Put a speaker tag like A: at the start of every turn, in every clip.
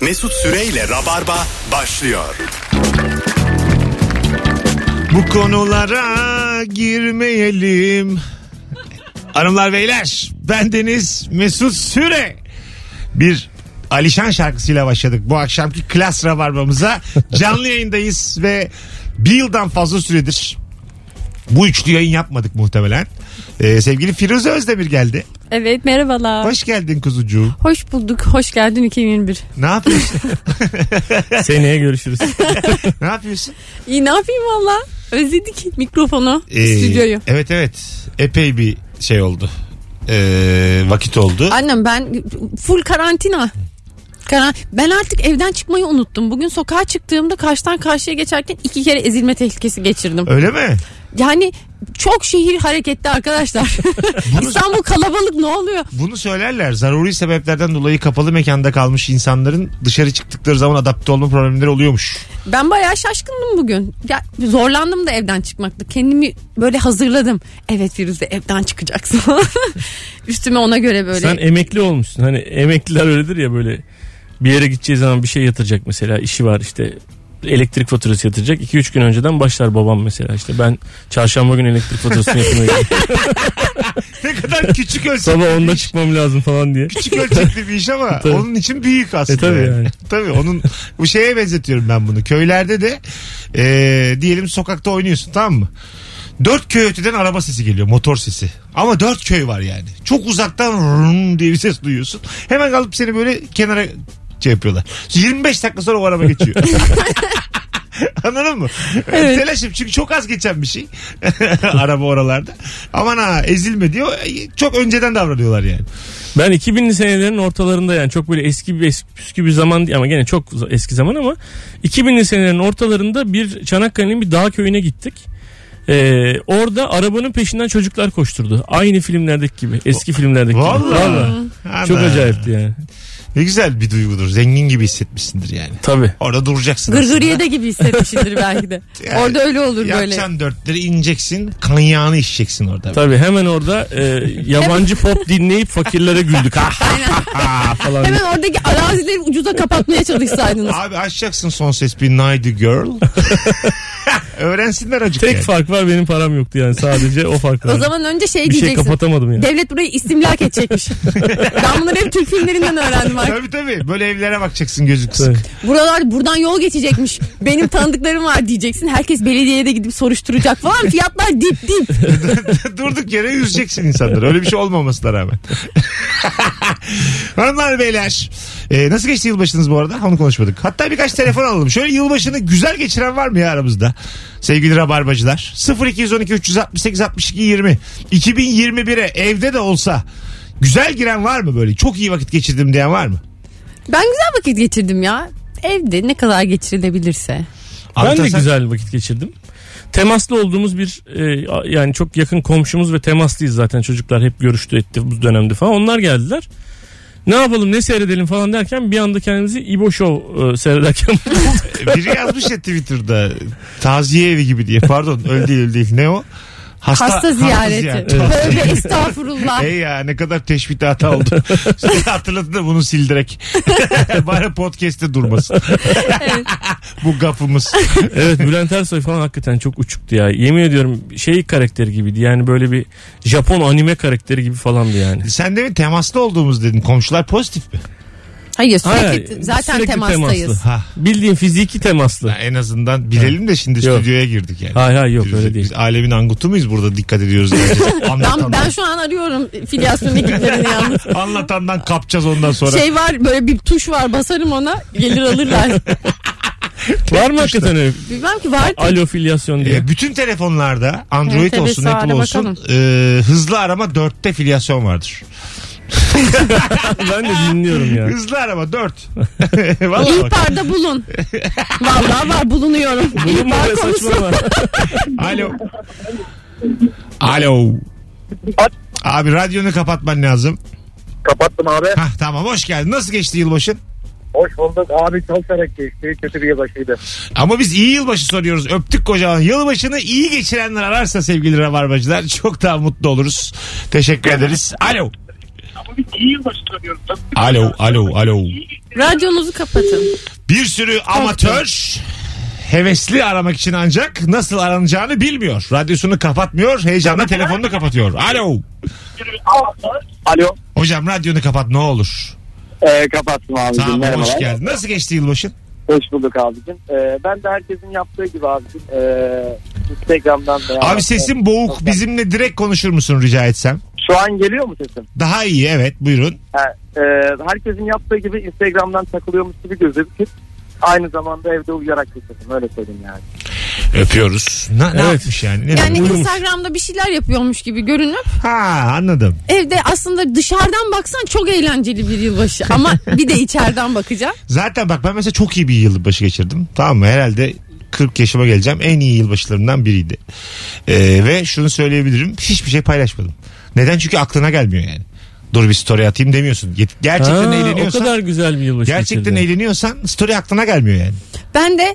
A: Mesut Süreyle Rabarba başlıyor.
B: Bu konulara girmeyelim. Hanımlar beyler ben Deniz Mesut Süre. Bir Alişan şarkısıyla başladık. Bu akşamki klas rabarbamıza canlı yayındayız ve bir yıldan fazla süredir bu üçlü yayın yapmadık muhtemelen. Ee, sevgili Firuze Özdemir geldi.
C: Evet merhabalar. Hoş,
B: Hoş geldin kuzucuğum.
C: bulduk. Hoş geldin 2021.
B: Ne yapıyorsun?
D: Seneye görüşürüz.
B: ne yapıyorsun?
C: İyi ne yapayım valla? Özledik mikrofonu,
B: Ee,
C: stüdyoyu.
B: Evet evet. Epey bir şey oldu. Ee, vakit oldu.
C: Annem ben full karantina. Karan ben artık evden çıkmayı unuttum. Bugün sokağa çıktığımda karşıdan karşıya geçerken iki kere ezilme tehlikesi geçirdim.
B: Öyle mi?
C: Yani çok şehir hareketli arkadaşlar. İstanbul kalabalık ne oluyor?
B: Bunu söylerler. Zaruri sebeplerden dolayı kapalı mekanda kalmış insanların dışarı çıktıkları zaman adapte olma problemleri oluyormuş.
C: Ben bayağı şaşkındım bugün. Ya, zorlandım da evden çıkmakta. Kendimi böyle hazırladım. Evet Firuze evden çıkacaksın. Üstüme ona göre böyle.
D: Sen emekli olmuşsun. Hani emekliler öyledir ya böyle bir yere gideceği zaman bir şey yatıracak mesela işi var işte elektrik faturası yatıracak. 2-3 gün önceden başlar babam mesela işte ben çarşamba günü elektrik faturasını yatırmaya gidiyorum.
B: Ne kadar küçük ölçekli,
D: Sabah onda çıkmam lazım falan diye.
B: küçük ölçekli bir iş ama
D: Tabii.
B: onun için büyük aslında.
D: E, tabii yani.
B: Tabii onun bu şeye benzetiyorum ben bunu. Köylerde de e, diyelim sokakta oynuyorsun tamam mı? Dört köy öteden araba sesi geliyor motor sesi. Ama dört köy var yani. Çok uzaktan rrrn diye bir ses duyuyorsun. Hemen alıp seni böyle kenara şey yapıyorlar. 25 dakika sonra o araba geçiyor. Anladın mı? Telaşım çünkü çok az geçen bir şey. araba oralarda. Aman ha ezilme diyor. Çok önceden davranıyorlar yani.
D: Ben 2000'li senelerin ortalarında yani çok böyle eski bir eski, püskü bir zaman değil ama gene çok eski zaman ama 2000'li senelerin ortalarında bir Çanakkale'nin bir dağ köyüne gittik. Ee, orada arabanın peşinden çocuklar koşturdu. Aynı filmlerdeki gibi. Eski filmlerdeki gibi.
B: Vallahi.
D: Vallahi. Çok
B: Ana.
D: acayipti yani.
B: Ne güzel bir duygudur. Zengin gibi hissetmişsindir yani.
D: Tabii.
B: Orada duracaksın. aslında.
C: Gırgıriyede gibi hissetmişimdir belki de.
B: Yani
C: Orada öyle olur böyle.
B: Yapacaksın dörtleri ineceksin. Kanyağını içeceksin orada.
D: Tabii hemen orada e, yabancı pop dinleyip fakirlere güldük. Ha, ha,
C: Aynen.
D: ha falan.
C: Hemen oradaki arazileri ucuza kapatmaya çalışsaydınız.
B: Abi açacaksın son ses bir Nighty Girl. Öğrensinler acık
D: Tek
B: yani.
D: fark var benim param yoktu yani sadece o fark var.
C: O zaman önce şey
D: bir şey
C: diyeceksin.
D: kapatamadım yani.
C: Devlet burayı istimlak edecekmiş. ben bunları hep Türk filmlerinden öğrendim artık.
B: Tabii tabii. Böyle evlere bakacaksın gözü
D: Tabii.
B: kısık.
C: Buralar buradan yol geçecekmiş. Benim tanıdıklarım var diyeceksin. Herkes belediyeye de gidip soruşturacak falan. Fiyatlar dip dip.
B: Durduk yere üzeceksin insanları. Öyle bir şey olmamasına rağmen. Hanımlar beyler. e, nasıl geçti yılbaşınız bu arada? Onu konuşmadık. Hatta birkaç telefon alalım. Şöyle yılbaşını güzel geçiren var mı ya aramızda? Sevgili Rabarbacılar. 0212 368 62 20 2021'e evde de olsa güzel giren var mı böyle? Çok iyi vakit geçirdim diyen var mı?
C: Ben güzel vakit geçirdim ya. Evde ne kadar geçirilebilirse.
D: Ben
B: Anlatan
D: de
B: sen-
D: güzel vakit geçirdim. Temaslı olduğumuz bir e, a- yani çok yakın komşumuz ve temaslıyız zaten çocuklar hep görüştü etti bu dönemde falan onlar geldiler. Ne yapalım ne seyredelim falan derken bir anda kendimizi İbo Show e, seyrederken
B: Biri yazmış ya Twitter'da taziye evi gibi diye. Pardon öyle değil öyle değil. Ne o?
C: Hasta, ziyareti.
B: ziyareti.
C: Tövbe estağfurullah.
B: Ey ya ne kadar teşbih hata oldu. Hatırladın da bunu sildirek. Bari podcast'te durmasın. Bu gafımız.
D: evet Bülent Ersoy falan hakikaten çok uçuktu ya. Yemin ediyorum şey karakteri gibiydi yani böyle bir Japon anime karakteri gibi falandı yani.
B: Sen de mi temaslı olduğumuz dedin. Komşular pozitif mi?
C: Hayır sürekli
D: Hayır,
C: zaten
D: sürekli
C: temastayız.
D: temaslı.
B: Ha.
D: Bildiğin fiziki temaslı.
B: Ya En azından bilelim de şimdi
D: Yok.
B: stüdyoya girdik yani.
D: Hayır hayır yok öyle
B: Biz-
D: değil.
B: Biz alemin angutu muyuz burada dikkat ediyoruz. Yani.
C: Ben,
B: Anlatandan,
C: ben şu an arıyorum filyasyon ekiplerini yalnız.
B: anlatandan kapacağız ondan sonra.
C: Şey var böyle bir tuş var basarım ona gelir alırlar.
D: Var mı hakikaten öyle?
C: Bilmem ki var.
D: Alo filyasyon diye.
B: E, bütün telefonlarda Android
C: Evet, evet,
B: olsun
C: sağ
B: Apple
C: ara
B: olsun
C: bakalım.
B: e, hızlı arama dörtte filyasyon vardır.
D: ben de dinliyorum ya.
B: Hızlı arama 4. Vallahi bak.
C: İhbarda bulun. Vallahi var bulunuyorum. İhbar konusu.
B: Alo. Alo. Abi radyonu kapatman lazım.
E: Kapattım abi.
B: Hah tamam hoş geldin. Nasıl geçti yılbaşın?
E: Hoş bulduk. Abi çalışarak geçti. Kötü bir yılbaşıydı.
B: Ama biz iyi yılbaşı soruyoruz. Öptük kocaman. Yılbaşını iyi geçirenler ararsa sevgili rabarbacılar çok daha mutlu oluruz. Teşekkür ederiz. Alo.
F: Tabii ki iyi yılbaşı tanıyorum. Tabii ki
B: Alo, alo, alo.
C: Radyonuzu kapatın.
B: Bir sürü amatör hevesli aramak için ancak nasıl aranacağını bilmiyor. Radyosunu kapatmıyor, heyecanla telefonunu kapatıyor. Alo.
F: bir amatör.
E: Alo.
B: Hocam radyonu kapat ne olur.
E: Ee, kapattım abicim.
B: Tamam
E: merhabalar.
B: hoş geldin. Nasıl geçti yılbaşın?
E: Hoş bulduk abicim. Ee, ben de herkesin yaptığı gibi abicim. Ee, Instagram'dan da.
B: Abi sesin boğuk. Bizimle direkt konuşur musun rica etsem?
E: Şu an geliyor mu sesim?
B: Daha iyi evet buyurun.
E: Ha, e, herkesin yaptığı gibi Instagram'dan takılıyormuş gibi gözüküp aynı zamanda evde uyuyarak geçirdim. Öyle söyleyeyim yani.
B: Öpüyoruz. Ne, ne
D: Evet.
B: yapmış yani? Ne
C: Yani
B: demek?
C: Instagram'da bir şeyler yapıyormuş gibi görünüp
B: Ha anladım.
C: evde aslında dışarıdan baksan çok eğlenceli bir yılbaşı ama bir de içeriden bakacağım.
B: Zaten bak ben mesela çok iyi bir yılbaşı geçirdim. Tamam mı? Herhalde 40 yaşıma geleceğim. En iyi yılbaşılarımdan biriydi. Ee, ve şunu söyleyebilirim. Hiçbir şey paylaşmadım. Neden? Çünkü aklına gelmiyor yani. Dur bir story atayım demiyorsun. Yet- Gerçekten
D: Ha,
B: eğleniyorsan.
D: O kadar güzel bir yılbaşı
B: Gerçekten
D: geçirdi.
B: eğleniyorsan story aklına gelmiyor yani.
C: Ben de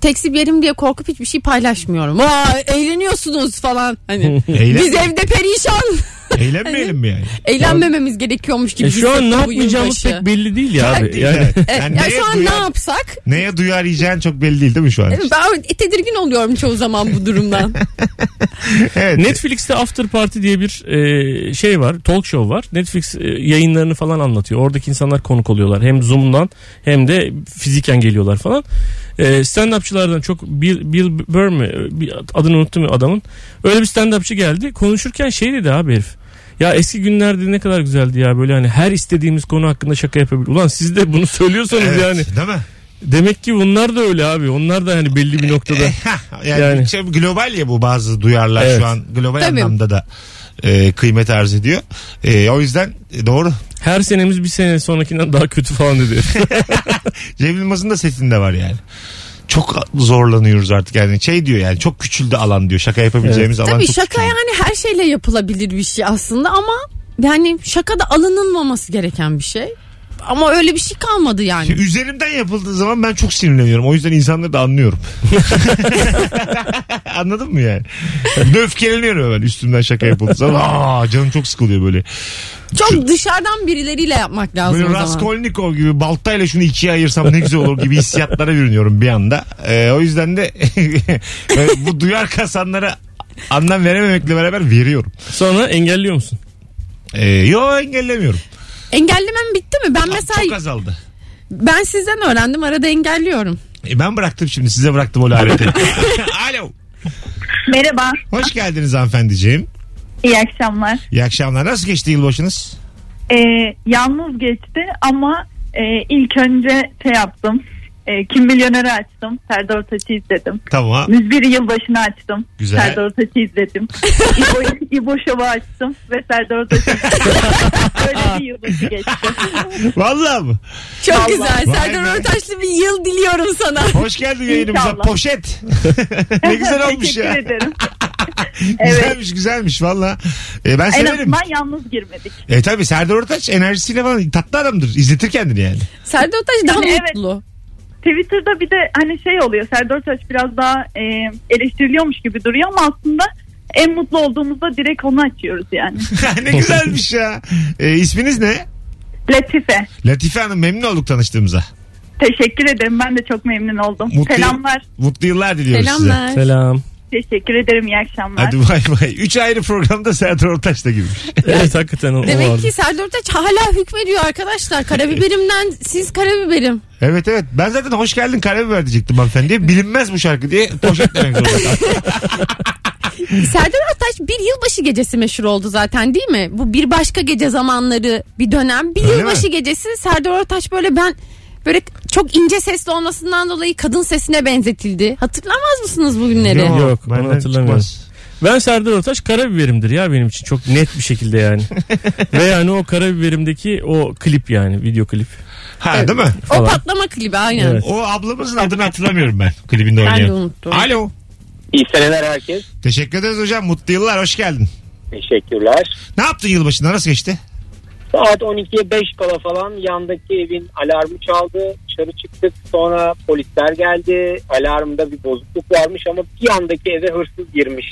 C: teksip yerim diye korkup hiçbir şey paylaşmıyorum. Vay eğleniyorsunuz falan. Hani
B: Eğlen-
C: biz evde perişan.
B: Eğlenmeyelim mi yani?
C: Eğlenmememiz gerekiyormuş gibi.
D: E şu an ne
C: hissettim bu
D: yapmayacağımız
C: yılbaşı.
D: pek belli değil ya abi.
B: Değil
D: Yani,
B: evet.
C: E,
B: Yani
C: ya
B: neye,
C: şu an ne
B: duyar,
C: yapsak?
B: neye duyar yiyeceğin çok belli değil değil mi şu an?
C: Evet, Ben tedirgin oluyorum çoğu zaman bu durumdan.
B: Evet.
D: Netflix'te After Party diye bir e, şey var. Talk show var. Netflix e, yayınlarını falan anlatıyor. Oradaki insanlar konuk oluyorlar. Hem Zoom'dan hem de fiziken geliyorlar falan. E, stand-upçılardan çok Bill, Bill Burr mü? E, bir Adını unuttum ya adamın. Öyle bir stand-upçı geldi. Konuşurken şey dedi abi herif. Ya eski günlerde ne kadar güzeldi ya böyle hani her istediğimiz konu hakkında şaka yapabilir. Ulan siz de bunu söylüyorsanız
B: Evet,
D: yani.
B: Değil mi?
D: Demek ki bunlar da öyle abi. Onlar da hani belli bir noktada.
B: Hah, yani,
D: Yani.
B: şey, global ya bu bazı duyarlar
D: Evet.
B: şu an global
C: Tabii.
B: anlamda da e, kıymet arz ediyor. E, o yüzden e, doğru.
D: Her senemiz bir sene sonrakinden daha kötü falan dedi.
B: Cem Yılmaz'ın da sesinde var yani. Çok zorlanıyoruz artık yani. Şey diyor yani çok küçüldü alan diyor. Şaka yapabileceğimiz alan
C: Tabii
B: çok
C: şaka
B: küçüldü.
C: yani her şeyle yapılabilir bir şey aslında ama yani şaka da alınılmaması gereken bir şey. Ama öyle bir şey kalmadı yani.
B: Şimdi Üzerimden yapıldığı zaman ben çok sinirleniyorum. O yüzden insanları da anlıyorum. Anladın mı yani? De Öfkeleniyorum hemen üstümden şaka yapıldığı zaman. Aa, canım çok sıkılıyor böyle.
C: Çok dışarıdan birileriyle yapmak lazım
B: Böyle
C: o zaman.
B: Raskolnikov gibi baltayla şunu ikiye ayırsam ne güzel olur gibi hissiyatlara bürünüyorum bir anda. Ee, o yüzden de e, bu duyar kasanlara anlam verememekle beraber veriyorum.
D: Sonra engelliyor musun?
B: Ee, yo engellemiyorum.
C: Engellemem bitti mi? Ben mesela
B: Çok azaldı.
C: ben sizden öğrendim arada engelliyorum.
B: E, ben bıraktım şimdi size bıraktım o laneti. Alo.
G: Merhaba,
B: Hoş geldiniz hanımefendiciğim.
G: iyi akşamlar.
B: İyi akşamlar. Nasıl geçti yılbaşınız?
G: Ee, yalnız geçti ama e, ilk önce şey yaptım. E, Kim Milyoner'i açtım, Serdar Ortaç'ı izledim.
B: Tamam.
G: Müzbir Yılbaşı'nı açtım,
B: Güzel.
G: Serdar Ortaç'ı izledim. İbo, İbo Şov'u açtım ve Serdar Ortaç'ı izledim. Böyle bir yılbaşı geçti.
B: Vallahi mı?
C: Çok
G: Vallahi.
C: güzel.
B: Vay be.
C: Serdar Ortaçlı bir yıl diliyorum sana.
B: Hoş geldin yayınımıza.
G: İnşallah.
B: Poşet. ne güzel olmuş ya.
G: Teşekkür ederim. evet.
B: Güzelmiş güzelmiş valla. E, ben
G: En
B: severim.
G: azından yalnız girmedik.
B: E tabi Serdar Ortaç enerjisiyle falan tatlı adamdır. İzletir kendini yani.
C: Serdar Ortaç daha
G: Yani evet.
C: mutlu.
G: Twitter'da bir de hani şey oluyor Serdar Taş biraz daha e, eleştiriliyormuş gibi duruyor ama aslında en mutlu olduğumuzda direkt onu açıyoruz yani.
B: ne güzelmiş ya. E, isminiz ne?
G: Latife
B: Latife Hanım memnun olduk tanıştığımıza.
G: teşekkür ederim ben de çok memnun oldum.
B: Mutlu-
G: Selamlar
B: Mutlu yıllar diliyoruz size.
C: Selamlar.
D: Selam.
G: teşekkür ederim iyi akşamlar.
B: Hadi bay bay. Üç ayrı programda Serdar Ortaç da girmiş.
D: Evet hakikaten o, o
C: Demek
D: vardı.
C: ki Serdar Ortaç hala hükmediyor arkadaşlar. Karabiberimden siz karabiberim.
B: evet evet. Ben zaten hoş geldin karabiber diyecektim hanımefendiye. Bilinmez bu şarkı diye poşet demek zorunda. kaldım.
C: Serdar Ortaç bir yılbaşı gecesi meşhur oldu zaten değil mi? Bu bir başka gece zamanları bir dönem. Bir
B: Öyle
C: yılbaşı
B: mi?
C: gecesi Serdar Ortaç böyle ben böyle çok ince sesli olmasından dolayı kadın sesine benzetildi. Hatırlamaz mısınız bu günleri?
D: Yok, onu
B: benden
D: hatırlamıyorum.
B: çıkmaz.
D: Ben Serdar Ortaç karabiberimdir ya benim için çok net bir şekilde yani. Ve yani o karabiberimdeki o klip yani video klip.
B: Ha değil mi?
C: o
D: falan.
C: patlama klibi aynen.
D: Evet.
B: O ablamızın adını hatırlamıyorum ben klibinde oynayan.
C: Ben de unuttum.
B: Alo.
E: İyi seneler herkes.
B: Teşekkür ederiz hocam. Mutlu yıllar. Hoş geldin.
E: Teşekkürler.
B: Ne yaptın yılbaşında? Nasıl geçti?
E: Saat 12'ye 5 kala falan yandaki evin alarmı çaldı. Dışarı çıktık sonra polisler geldi. Alarmda bir bozukluk varmış ama bir yandaki eve hırsız girmiş.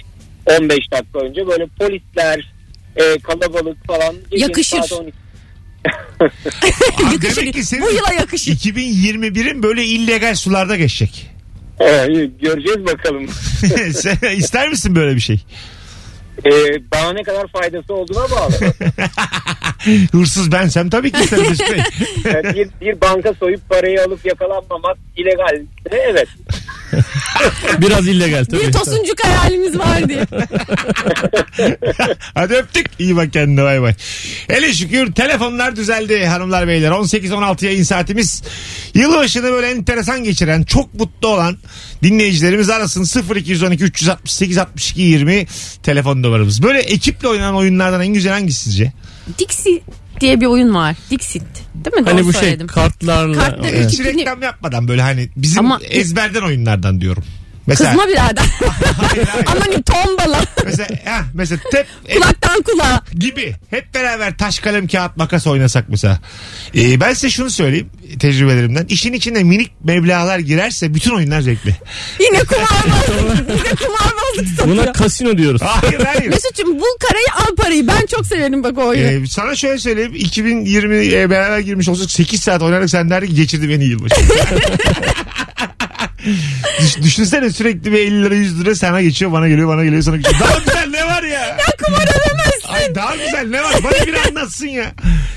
E: 15 dakika önce böyle polisler e, kalabalık falan. Gece
C: Yakışır.
E: saat 12.
B: Abi
C: Yakışır.
B: demek ki senin
C: Bu yıla yakışır.
B: 2021'in böyle illegal sularda geçecek.
E: Evet, "Ee, göreceğiz bakalım.
B: Sen ister misin böyle bir şey?
E: Ee, bana ne kadar faydası olduğuna bağlı.
B: Hırsız bensem tabii ki isterim Mesut Bey.
E: Yani bir, bir banka soyup parayı alıp yakalanmamak illegal. Evet.
D: Biraz illegal tabii.
C: Bir tosuncuk hayalimiz vardı.
B: Hadi öptük. İyi bak kendine bay bay. Hele şükür telefonlar düzeldi hanımlar beyler. 18-16 yayın saatimiz. Yılbaşını böyle enteresan geçiren, çok mutlu olan dinleyicilerimiz arasın 0212 368 62 20 telefon numaramız. Böyle ekiple oynanan oyunlardan en güzel hangisi sizce?
C: Dixit diye bir oyun var. Dixit. Değil mi?
D: Hani
C: Doğru
D: bu şey
C: söyledim.
D: kartlarla.
C: Kartla-
D: Evet.
B: Hiç
C: Ekibini-
B: reklam yapmadan böyle hani bizim
C: Ama-
B: ezberden oyunlardan diyorum. Mesela,
C: Kızma birader.
B: Hayır, hayır.
C: Aman diyeyim, hani tombala.
B: mesela, ha, mesela tep,
C: Kulaktan kulağa.
B: gibi hep beraber taş kalem kağıt makas oynasak mesela. Ee, ben size şunu söyleyeyim tecrübelerimden. İşin içinde minik meblalar girerse bütün oyunlar zevkli.
C: Yine kumarbazlık. Yine kumarbazlık satıyor.
D: Buna kasino diyoruz.
B: Hayır hayır.
C: Mesut'cum bul karayı al parayı. Ben çok severim bak o oyunu.
B: Ee, sana şöyle söyleyeyim 2020'ye beraber girmiş olsak 8 saat oynadık sen derdin ki geçirdim en iyi yılbaşı. Düş- düşünsene sürekli bir 50 lira 100 lira sana geçiyor bana geliyor bana geliyor sana geçiyor. Daha güzel ne var ya? Ya kumar ödemezsin. Ay, daha güzel ne var bana bir anlatsın ya.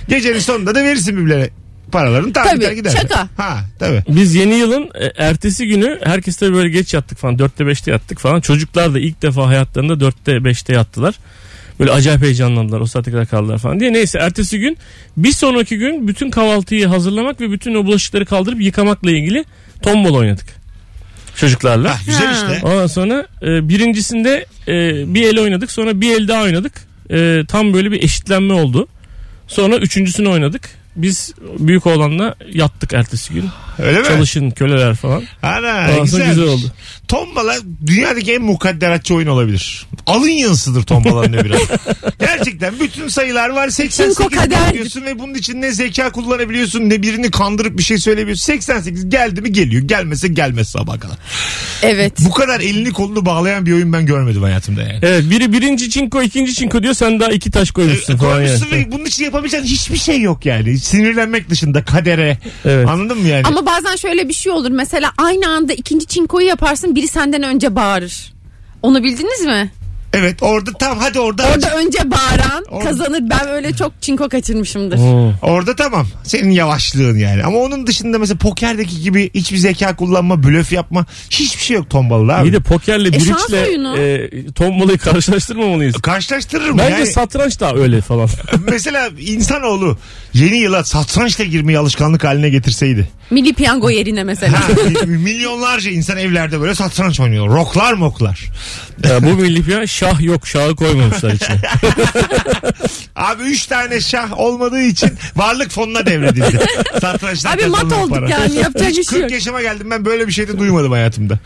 B: Gecenin sonunda da verirsin birbirine paralarını tabii,
C: Tabii,
B: gider.
C: şaka.
B: Ha tabii.
D: Biz yeni yılın e, ertesi günü herkes de böyle geç yattık falan. Dörtte beşte yattık falan. Çocuklar da ilk defa hayatlarında dörtte beşte yattılar. Böyle acayip heyecanlandılar. O saate kadar kaldılar falan diye. Neyse ertesi gün bir sonraki gün bütün kahvaltıyı hazırlamak ve bütün o bulaşıkları kaldırıp yıkamakla ilgili tombol oynadık. Çocuklarla.
B: Ah, güzel
C: Ha.
B: işte.
D: Ondan sonra e, birincisinde e, bir el oynadık sonra bir el daha oynadık. E, tam böyle bir eşitlenme oldu. Sonra üçüncüsünü oynadık. Biz büyük oğlanla yattık ertesi gün.
B: Öyle mi?
D: Çalışın köleler falan.
B: Ana
D: Aslında
B: güzelmiş.
D: güzel oldu.
B: Tombala dünyadaki en mukadderatçı oyun olabilir. Alın yazısıdır tombalanın öbürü. Gerçekten bütün sayılar var. 88
C: Cinco kader.
B: diyorsun ve bunun için ne zeka kullanabiliyorsun ne birini kandırıp bir şey söyleyebiliyorsun. 88 geldi mi geliyor. Gelmese gelmez sabah kadar.
C: Evet.
B: Bu kadar elini kolunu bağlayan bir oyun ben görmedim hayatımda yani.
D: Evet biri birinci çinko ikinci çinko diyor sen daha iki taş koymuşsun falan yani.
B: Koymuşsun E, ve bunun için yapabileceğin hiçbir şey yok yani. Sinirlenmek dışında kadere.
D: Evet.
B: Anladın mı yani?
C: Ama bazen şöyle bir şey olur. Mesela aynı anda ikinci çinkoyu yaparsın biri senden önce bağırır. Onu bildiniz mi?
B: Evet orada tam hadi orada.
C: Orada önce bağıran
B: Orada-
C: kazanır. Ben öyle çok çinko kaçırmışımdır.
D: Oo.
B: Orada tamam. Senin yavaşlığın yani. Ama onun dışında mesela pokerdeki gibi hiçbir zeka kullanma, blöf yapma hiçbir şey yok tombalı abi.
D: İyi de pokerle
C: E, şans
D: bridge'le
C: oyunu.
D: e, tombalayı karşılaştırmamalıyız.
B: Karşılaştırırım
D: Bence
B: yani.
D: satranç da öyle falan.
B: mesela insanoğlu yeni yıla satrançla girmeyi alışkanlık haline getirseydi.
C: Milli piyango yerine mesela.
B: Ha, milyonlarca insan evlerde böyle satranç oynuyor. Roklar moklar.
D: Ya bu milli piyango şah yok şahı koymamışlar içine.
B: Abi üç tane şah olmadığı için varlık fonuna devredildi. Satrançtan
C: Abi mat
B: kazanılan
C: olduk
B: para.
C: yani yapacak bir şey yok.
B: 40 yaşıma geldim ben böyle bir şey de duymadım hayatımda.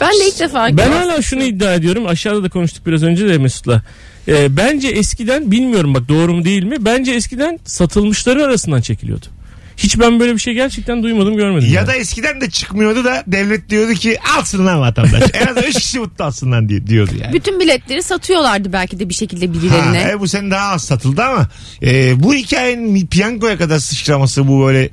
C: Ben de ilk defa
D: Ben hala şunu iddia ediyorum. Aşağıda da konuştuk biraz önce de Mesut'la. Ee, bence eskiden bilmiyorum bak doğru mu değil mi? Bence eskiden satılmışları arasından çekiliyordu. Hiç ben böyle bir şey gerçekten duymadım görmedim.
B: Ya
D: yani.
B: da eskiden de çıkmıyordu da devlet diyordu ki alsın lan vatandaş. en az 3 kişi mutlu alsın lan diye, diyordu yani.
C: bütün biletleri satıyorlardı belki de bir şekilde
B: Ha,
C: birilerine.
B: e, bu sene daha az satıldı ama e, bu hikayenin mi- piyangoya kadar sıçraması bu böyle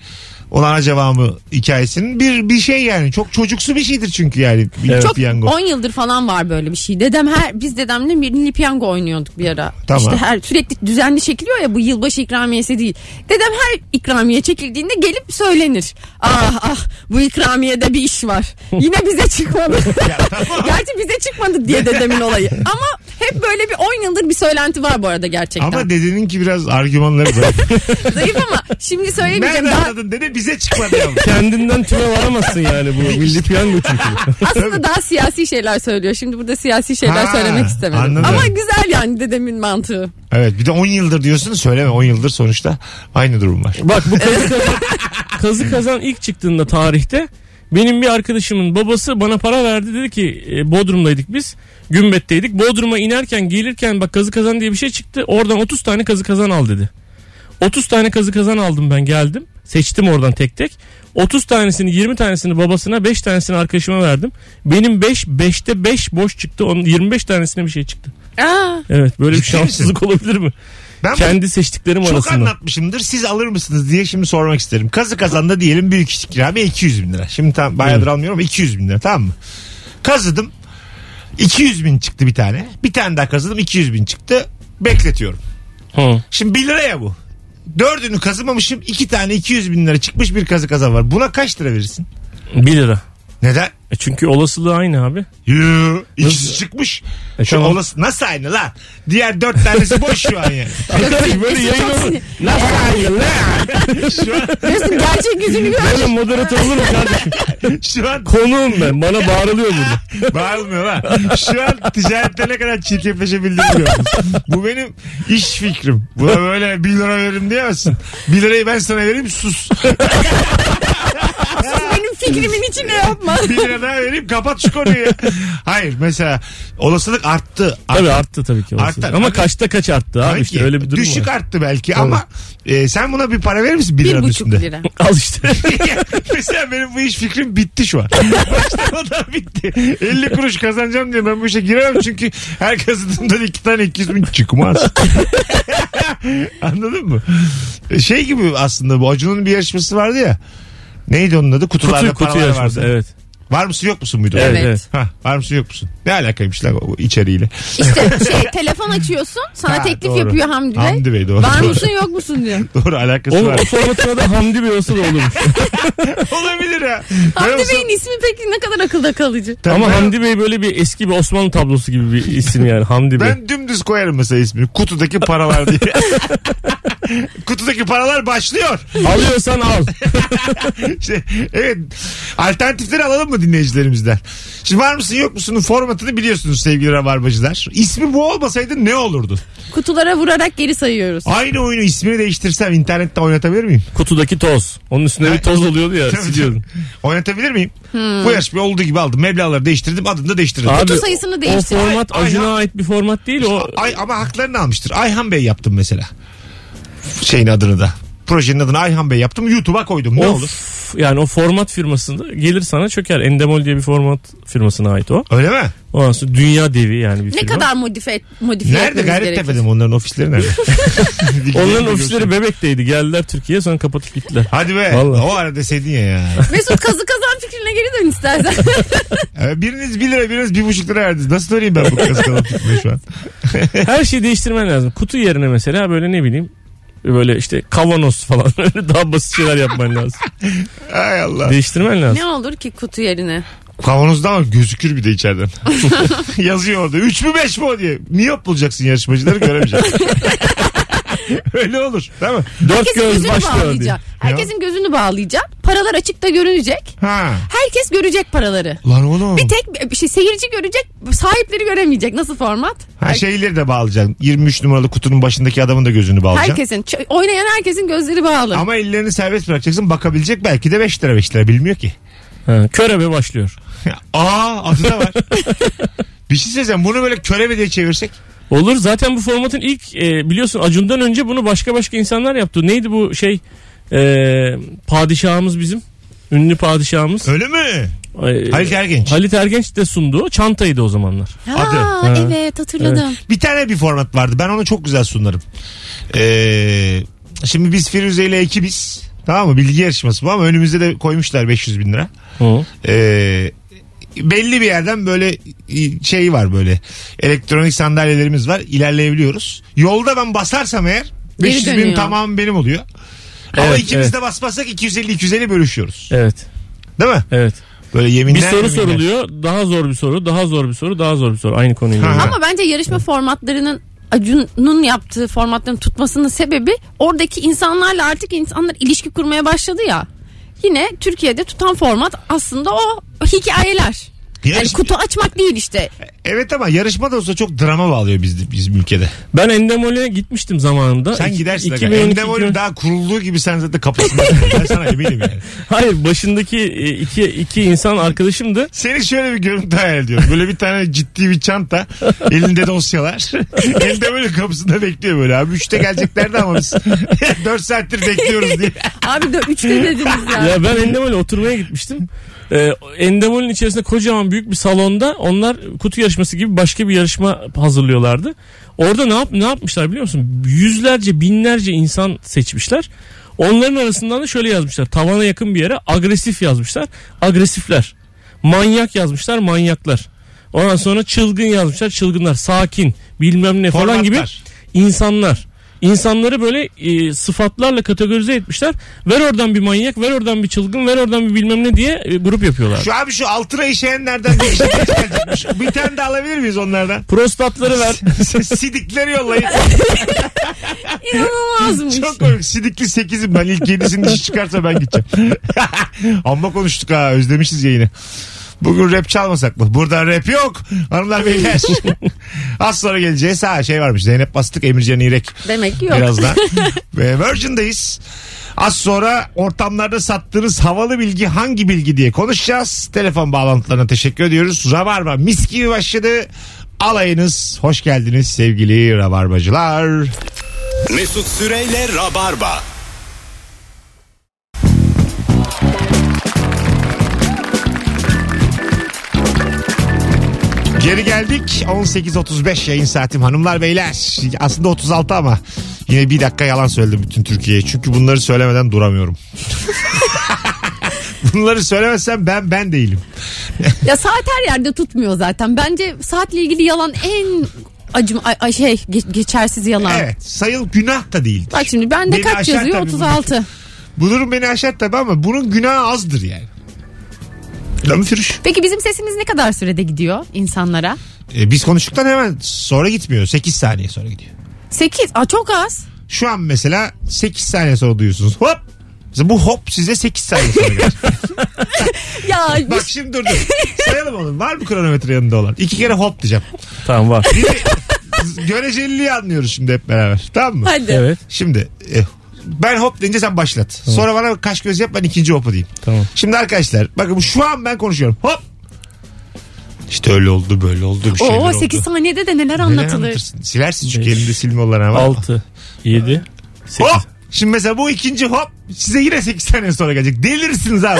B: olana cevabı hikayesinin bir bir şey yani çok çocuksu bir şeydir çünkü yani bir
D: Evet.
C: Çok
B: piyango.
C: 10 yıldır falan var böyle bir şey. Dedem her biz dedemle milli piyango oynuyorduk bir ara.
B: Tamam.
C: İşte her sürekli düzenli çekiliyor ya bu yılbaşı ikramiyesi değil. Dedem her ikramiye çekildiğinde gelip söylenir. Ah ah bu ikramiyede bir iş var. Yine bize çıkmadı. Gerçi bize çıkmadı diye dedemin olayı. Ama hep böyle bir 10 yıldır bir söylenti var bu arada gerçekten.
B: Ama dedenin ki biraz argümanları zayıf.
C: Zayıf ama şimdi söyleyemeyeceğim.
B: Nereden
C: Daha,
B: anladın dede bize çıkmadı ya.
D: Kendinden tüme varamazsın yani bu milli piyango çünkü.
C: aslında daha siyasi şeyler söylüyor. Şimdi burada siyasi şeyler
B: Ha,
C: söylemek istemedim.
B: anladım.
C: Ama güzel yani dedemin mantığı.
B: Evet bir de 10 yıldır diyorsun söyleme 10 yıldır sonuçta aynı durum var.
D: Bak bu kazı kazan, kazı kazan ilk çıktığında tarihte benim bir arkadaşımın babası bana para verdi dedi ki e, Bodrum'daydık biz. Gümbet'teydik. Bodrum'a inerken gelirken bak kazı kazan diye bir şey çıktı. Oradan 30 tane kazı kazan al dedi. 30 tane kazı kazan aldım ben geldim. Seçtim oradan tek tek. 30 tanesini 20 tanesini babasına 5 tanesini arkadaşıma verdim. Benim 5 5'te 5 boş çıktı. Onun 25 tanesine bir şey çıktı.
C: Aa,
D: Evet böyle bir
B: Ciddi misin?
D: şanssızlık olabilir mi?
B: Ben bu-
D: Kendi seçtiklerim
B: çok
D: arasında.
B: anlatmışımdır. Siz alır mısınız diye şimdi sormak isterim. Kazı kazanda diyelim büyük kişi kiramiye 200 bin lira. Şimdi tam bayağıdır
D: Evet.
B: almıyorum ama 200 bin lira tamam mı? Kazıdım. 200 bin çıktı bir tane. Bir tane daha kazıdım 200 bin çıktı. Bekletiyorum.
D: Hı.
B: Şimdi 1 lira ya bu. Dördünü kazımamışım. iki tane 200 bin lira çıkmış bir kazı kazan var. Buna kaç lira verirsin?
D: 1 lira.
B: Neden?
D: E çünkü olasılığı aynı abi.
B: Yuu. İkisi
D: Nasıl?
B: çıkmış.
D: E
B: Şu
D: tamam.
B: olası nasıl aynı lan? Diğer dört tanesi boş şu an yani.
D: Böyle yayın
C: Çok
D: olur.
C: sinir-
D: Nasıl aynı lan?
B: Şu an,
C: Mesut'un gerçek yüzünü gör.
D: Böyle moderatör olur mu kardeşim?
B: şu an
D: Konuğum ben. Bana bağırılıyor burada.
B: Bağırmıyor lan. Şu an ticarette ne kadar çirkefleşebildiğimi görüyoruz. Bu benim iş fikrim. Buna böyle 1 lira veririm diyemezsin. 1 lirayı ben sana vereyim sus.
C: Benim fikrimin içine yapma.
B: 1 lira daha vereyim kapat şu konuyu. ya. Hayır mesela olasılık arttı.
D: Tabii arttı tabii ki. olasılığı.
B: Artar.
D: Ama
B: Tabii.
D: kaçta kaç arttı abi
B: Tabii
D: işte
B: ki.
D: öyle bir durum
B: Düşük
D: var.
B: arttı belki ama e, sen buna bir para verir misin 1
C: Bir
B: liranın
C: buçuk
B: üstünde?
C: lira.
D: Al işte.
B: Mesela benim bu iş fikrim bitti şu an. Başlamadan bitti. 50 kuruş kazanacağım diye ben bu işe giremem çünkü her kazıdığımdan iki tane 200 bin çıkmaz. Anladın mı? Şey gibi aslında bu Acun'un bir yarışması vardı ya. Neydi onun adı? Kutularda
D: kutu
B: kutu,
D: kutu
B: paralar
D: yarışması.
B: vardı.
D: Evet.
B: Var mısın yok musun muydu?
D: Evet.
C: Evet.
D: evet.
B: Ha, var mısın yok musun? Ne alakaymış lan o içeriğiyle?
C: İşte şey telefon açıyorsun sana
B: Ha,
C: teklif
B: doğru.
C: yapıyor Hamdi Bey.
B: Hamdi Bey, doğru.
C: Var mısın yok musun diyor.
B: Doğru alakası
D: Onun
B: var.
D: o formatına da Hamdi Bey olsa da olurmuş.
B: Olabilir ha. Ben
C: Hamdi
B: olsam-
C: Bey'in ismi peki ne kadar akılda kalıcı.
B: Tabii
D: Ama
B: ben-
D: Hamdi Bey böyle bir eski bir Osmanlı tablosu gibi bir isim yani Hamdi Bey.
B: Ben dümdüz koyarım mesela ismini. Kutudaki paralar diye. Kutudaki paralar başlıyor.
D: Alıyorsan al.
B: Şey, evet. Alternatifleri alalım mı dinleyicilerimizden? Şimdi var mısın yok musunun formatını biliyorsunuz sevgili rabarbacılar. İsmi bu olmasaydı ne olurdu?
C: Kutulara vurarak geri sayıyoruz.
B: Aynı oyunu ismini değiştirsem internette oynatabilir miyim?
D: Kutudaki toz. Onun üstünde bir toz oluyordu ya siliyordun.
B: oynatabilir miyim? Bu yarışmayı olduğu gibi aldım. Meblağları değiştirdim. Adını da değiştirdim.
D: Abi,
C: sayısını
D: o
C: değiştir.
D: format
B: Ay-
D: Acun'a
B: aynen.
D: ait bir format değil o.
B: Ay, ama haklarını almıştır. Ayhan Bey yaptım mesela. Şeyin adını da. Projenin adını Ayhan Bey yaptım. YouTube'a koydum. Ne
D: o
B: olur?
D: f- Yani o format firmasında gelir sana çöker. Endemol diye bir format firmasına ait o.
B: Öyle mi?
D: Ondan sonra dünya devi yani bir
C: Ne
D: firma.
C: kadar modifiye, modifiye
B: Nerede
C: etmemiz gerekir?
B: Gayrettepe'de mi onların ofisleri nerede?
D: Onların ofisleri Bebek'teydi. Geldiler Türkiye'ye sonra kapatıp gittiler.
B: Hadi be.
D: Vallahi.
B: O ara deseydin ya. ya.
C: Mesut kazı kazan fikrine geri dön istersen.
B: Ee, biriniz 1 lira biriniz 1,5 lira verdiniz. Nasıl döneyim ben bu kazıkalan tutmayı şu an?
D: Her şeyi değiştirmen lazım. Kutu yerine mesela böyle ne bileyim böyle işte kavanoz falan öyle daha basit şeyler yapman lazım.
B: Ay Allah.
D: Değiştirmen lazım.
C: ne olur ki kutu yerine?
B: Kavanozda ama gözükür bir de içeriden. Yazıyor orada. 3 mü 5 mi o diye. Miyop bulacaksın yarışmacıları göremeyeceksin. Öyle olur. Değil mi?
D: Dört
C: Herkesin
D: göz
C: gözünü
D: başlıyor diye.
C: bağlayacak. Herkesin gözünü bağlayacak. Paralar açıkta görünecek.
B: Ha.
C: Herkes görecek paraları.
B: Lan oğlum.
C: Bir tek bir şey seyirci görecek, sahipleri göremeyecek. Nasıl format?
B: Ha şeyleri de bağlayacaksın. 23 numaralı kutunun başındaki adamın da gözünü bağlayacaksın.
C: Herkesin, ç- oynayan herkesin gözleri bağlı.
B: Ama ellerini serbest bırakacaksın. Bakabilecek belki de 5 lira 5 lira bilmiyor ki.
D: Ha, körebe başlıyor.
B: Aa adı da var. bir şey söyleyeceğim. Bunu böyle körebe diye çevirsek.
D: Olur zaten bu formatın ilk e, biliyorsun Acun'dan önce bunu başka başka insanlar yaptı. Neydi bu şey E, padişahımız bizim ünlü padişahımız.
B: Öyle mi?
D: E,
B: Halit Ergenç.
D: Halit Ergenç de sundu. Çantaydı o zamanlar.
C: Ha,
B: adı.
C: evet hatırladım.
B: Bir tane bir format vardı. Ben onu çok güzel sunarım. Ee, şimdi biz Firuze ile ekibiz. Tamam mı? Bilgi yarışması bu ama önümüzde de koymuşlar 500 bin lira.
D: Hı.
B: Ee, belli bir yerden böyle şey var böyle elektronik sandalyelerimiz var ilerleyebiliyoruz. Yolda ben basarsam eğer
C: Geri
B: 500 bin
C: dönüyor.
B: tamam benim oluyor. Ama
D: Evet,
B: ikimiz
D: evet.
B: de basmazsak 250-250 bölüşüyoruz.
D: Evet.
B: Değil mi?
D: Evet.
B: Böyle yeminler
D: Bir soru
B: yeminler.
D: soruluyor. Daha zor bir soru, daha zor bir soru, daha zor bir soru. Aynı konuyla
B: Ha.
D: ilgili.
C: Ama bence yarışma formatlarının Acun'un yaptığı formatların tutmasının sebebi oradaki insanlarla artık insanlar ilişki kurmaya başladı ya. Yine Türkiye'de tutan format aslında o hikayeler.
B: Yarış-
C: Yani kutu açmak değil işte.
B: Evet ama yarışma da olsa çok drama bağlıyor biz, bizim ülkede.
D: Ben Endemol'e gitmiştim zamanında.
B: Sen
D: İki-
B: gidersin.
D: 2012
B: Endemol'ün daha kurulduğu gibi sen zaten kapısını açmadın. Ben sana eminim yani.
D: Hayır başındaki e, iki, iki insan arkadaşımdı.
B: Seni şöyle bir görüntü hayal ediyorum. Böyle bir tane ciddi bir çanta. Elinde dosyalar. Endemol'ün kapısında bekliyor böyle abi. Üçte geleceklerdi ama biz dört saattir bekliyoruz diye.
C: Abi de üçte dediniz ya.
D: Ya ben Endemol'e oturmaya gitmiştim. Ee, Endemol'ün içerisinde kocaman büyük bir salonda onlar kutu yarışması gibi başka bir yarışma hazırlıyorlardı. Orada ne yap ne yapmışlar biliyor musun? Yüzlerce, binlerce insan seçmişler. Onların arasından da şöyle yazmışlar. Tavana yakın bir yere agresif yazmışlar. Agresifler. Manyak yazmışlar, manyaklar. Ondan sonra çılgın yazmışlar, çılgınlar. Sakin, bilmem ne falan gibi
B: Formatlar.
D: insanlar. İnsanları böyle e, sıfatlarla kategorize etmişler. Ver oradan bir manyak, ver oradan bir çılgın, ver oradan bir bilmem ne diye e, grup yapıyorlar.
B: Şu abi şu altına işeyenlerden bir işe gelecekmiş. Bir tane de alabilir miyiz onlardan?
D: Prostatları ver.
B: Sidikleri yollayın.
C: İnanılmazmış.
B: Çok komik. Sidikli 8'im ben. ilk 7'sinin dişi çıkarsa ben gideceğim. Amma konuştuk ha. Özlemişiz yayını. Bugün rap çalmasak mı? Burada rap yok. Hanımlar beyler. Az sonra geleceğiz. Ha şey varmış. Zeynep Bastık, Emircan İrek.
C: Demek ki yok.
B: Birazdan. Ve Virgin'dayız. Az sonra ortamlarda sattığınız havalı bilgi hangi bilgi diye konuşacağız. Telefon bağlantılarına teşekkür ediyoruz. Rabarba mis gibi başladı. Alayınız. Hoş geldiniz sevgili Rabarbacılar.
A: Mesut Süreyle Rabarba.
B: Geri geldik. 18.35 yayın saatim hanımlar beyler. Aslında 36 ama yine bir dakika yalan söyledim bütün Türkiye'ye. Çünkü bunları söylemeden duramıyorum. bunları söylemezsem ben ben değilim.
C: Ya saat her yerde tutmuyor zaten. Bence saatle ilgili yalan en acım ay, ay şey ge- geçersiz yalan.
B: Evet sayıl günah da değildir.
C: Bak şimdi bende
B: Beni
C: kaç
B: aşar
C: yazıyor?
B: tabii bu.
C: 36.
B: Bu durum beni aşar tabii ama bunun günahı azdır yani. Lan Firuş.
C: Peki bizim sesimiz ne kadar sürede gidiyor insanlara?
B: E, biz konuştuktan hemen sonra gitmiyor. 8 saniye sonra gidiyor.
C: 8. Aa çok az.
B: Şu an mesela 8 saniye sonra duyuyorsunuz. Hop. Mesela bu hop size 8 saniye sonra gelir.
C: Ya şey-
B: Bak şimdi dur dur. Sayalım oğlum. Var mı kronometre yanında olan? İki kere hop diyeceğim.
D: tamam var.
B: Göreceliliği anlıyoruz şimdi hep beraber. Tamam mı?
C: hadi.
D: Evet.
B: Şimdi e, ben hop deyince sen başlat. Sonra bana kaş göz yap ben ikinci hopu diyeyim.
D: Tamam.
B: Şimdi arkadaşlar bakın şu an ben konuşuyorum. Hop. İşte öyle oldu böyle oldu bir şeyler
C: Oo
B: oldu.
C: 8 saniyede de neler
B: Neler
C: anlatılır?
B: anlatırsın? Silersin çünkü
D: Beş,
B: elinde silme olana var.
D: 6, 7, 8.
B: Hop. Şimdi mesela bu ikinci hop size yine 8 saniye sonra gelecek. Delirsiniz abi.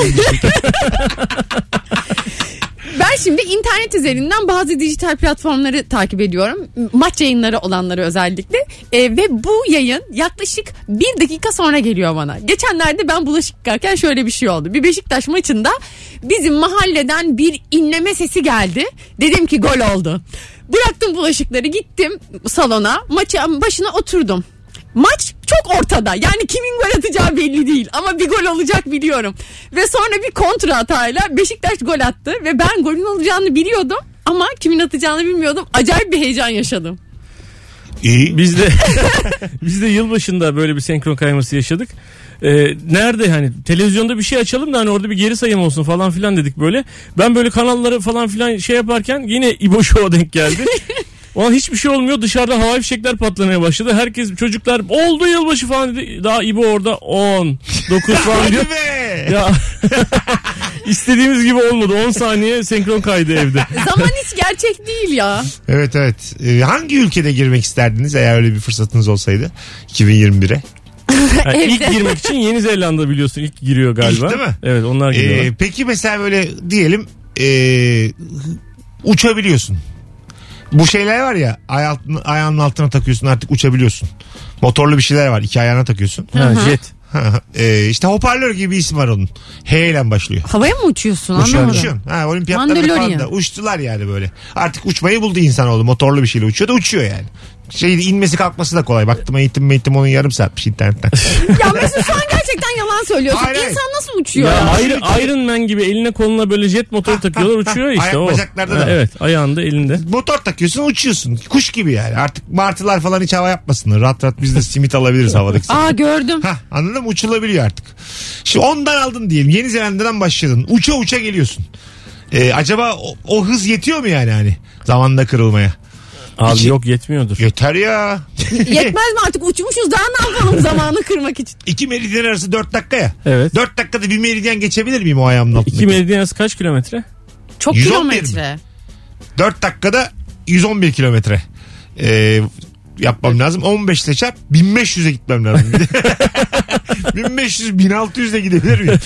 C: Ben şimdi internet üzerinden bazı dijital platformları takip ediyorum. Maç yayınları olanları özellikle. E, ve bu yayın yaklaşık bir dakika sonra geliyor bana. Geçenlerde ben bulaşık yıkarken şöyle bir şey oldu. Bir Beşiktaş maçında bizim mahalleden bir inleme sesi geldi. Dedim ki gol oldu. Bıraktım bulaşıkları gittim salona. Maçın başına oturdum. Maç çok ortada. Yani kimin gol atacağı belli değil. Ama bir gol olacak biliyorum. Ve sonra bir kontra hatayla Beşiktaş gol attı. Ve ben golün olacağını biliyordum. Ama kimin atacağını bilmiyordum. Acayip bir heyecan yaşadım.
B: İyi.
D: Biz de biz de yılbaşında böyle bir senkron kayması yaşadık. Ee, nerede hani televizyonda bir şey açalım da hani orada bir geri sayım olsun falan filan dedik böyle. Ben böyle kanalları falan filan şey yaparken yine İbo Show'a denk geldi. O an hiçbir şey olmuyor dışarıda havai fişekler patlamaya başladı. Herkes çocuklar oldu yılbaşı falan dedi. Daha İbo orada 10, 9 falan diyor.
B: Hadi be.
D: Ya istediğimiz gibi olmadı. 10 saniye senkron kaydı evde.
C: Zaman hiç gerçek değil ya.
B: Evet evet. Ee, hangi ülkede girmek isterdiniz eğer öyle bir fırsatınız olsaydı 2021'e?
D: Yani ilk
C: Evde.
D: girmek için Yeni Zelanda biliyorsun ilk giriyor galiba.
B: İlk değil mi?
D: Evet onlar giriyor.
B: Ee, peki mesela böyle diyelim ee, uçabiliyorsun. Bu şeyler var ya ay altın, ayağının altına takıyorsun artık uçabiliyorsun. Motorlu bir şeyler var iki ayağına takıyorsun.
D: ha, jet.
B: ee, işte hoparlör gibi bir isim var onun. H ile başlıyor.
C: Havaya mı uçuyorsun?
B: Uçuyor,
C: Anlamadım.
B: uçuyorsun. Ha, olimpiyatlarda
C: Mandalorian.
B: falan da uçtular yani böyle. Artık uçmayı buldu insanoğlu. Motorlu bir şeyle uçuyor da uçuyor yani. Şey inmesi kalkması da kolay. Baktım eğitim eğitim onun yarım saatmiş internetten.
C: Ya Mesut şu an gerçekten yalan söylüyorsun.
B: Hayır, hayır.
C: İnsan nasıl uçuyor?
D: Ya
C: ya?
D: Iron, Iron Man gibi eline koluna böyle jet motoru takıyorlar uçuyor işte
B: Ayak
D: o.
B: bacaklarda da
D: Ha,
B: var.
D: Evet ayağında elinde.
B: Motor takıyorsun uçuyorsun. Kuş gibi yani. Artık martılar falan hiç hava yapmasınlar. Rahat rahat biz de simit alabiliriz havadaki.
C: Aa gördüm.
B: Hah, anladın mı? Uçulabiliyor artık. Şimdi ondan aldın diyelim. Yeni Zelanda'dan başladın. Uça uça geliyorsun. Ee, acaba o, o hız yetiyor mu yani hani? Zamanda kırılmaya.
D: Abi
B: İki-
D: yok yetmiyordur.
B: Yeter ya.
C: Yetmez mi artık uçmuşuz daha ne yapalım zamanı kırmak için.
B: İki meridyen arası dört dakika ya.
D: Evet.
B: 4 dakikada bir meridyen geçebilir miyim o ayağımın altındaki?
D: İki meridyen arası kaç kilometre?
C: Çok
B: 111 mi?
C: kilometre.
B: 4 dakikada 111 kilometre. Ee, yapmam lazım. 15 ile çarp 1500'e gitmem lazım. 1500 1600'e gidebilir miyim?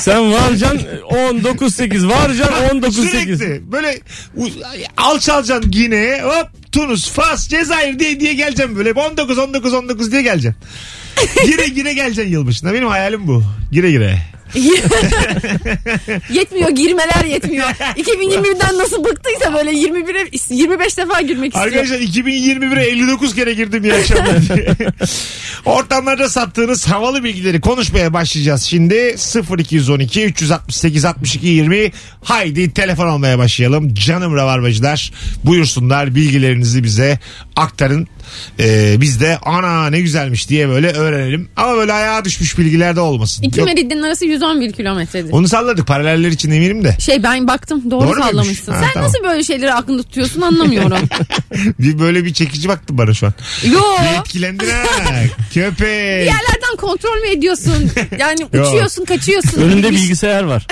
D: Sen varcan e, 19.8 varcan 19.8.
B: Sürekli böyle u- alçalacaksın Gine'ye hop Tunus, Fas, Cezayir diye diye geleceğim böyle 19 19 19 diye geleceğim. gire gire geleceksin yılbaşına. Benim hayalim bu. Gire gire.
C: yetmiyor girmeler yetmiyor. 2021'den nasıl bıktıysa böyle 21'e 25 defa girmek istiyor.
B: Arkadaşlar 2021'e 59 kere girdim iyi akşamlar diye. Ortamlarda sattığınız havalı bilgileri konuşmaya başlayacağız. Şimdi 0212 368 62 20 haydi telefon almaya başlayalım. Canım Rabarbacılar buyursunlar bilgilerinizi bize aktarın. Ee, biz de ana ne güzelmiş diye böyle öğrenelim. Ama böyle ayağa düşmüş bilgiler de olmasın.
C: İki
B: Yok,
C: meridyenin arası 111 kilometredir.
B: onu salladık paraleller için eminim de.
C: Şey ben baktım doğru,
B: Doğru muymuş?
C: sallamışsın.
B: Ha,
C: Sen
B: tamam.
C: nasıl böyle şeyleri aklında tutuyorsun anlamıyorum.
B: Bir böyle bir çekici baktı bana şu an.
C: Yo.
B: Bir etkilendin ha. Köpek.
C: Bir yerlerden kontrol mü ediyorsun? Yani
B: Yo.
C: uçuyorsun kaçıyorsun.
D: Önünde bilgisayar var.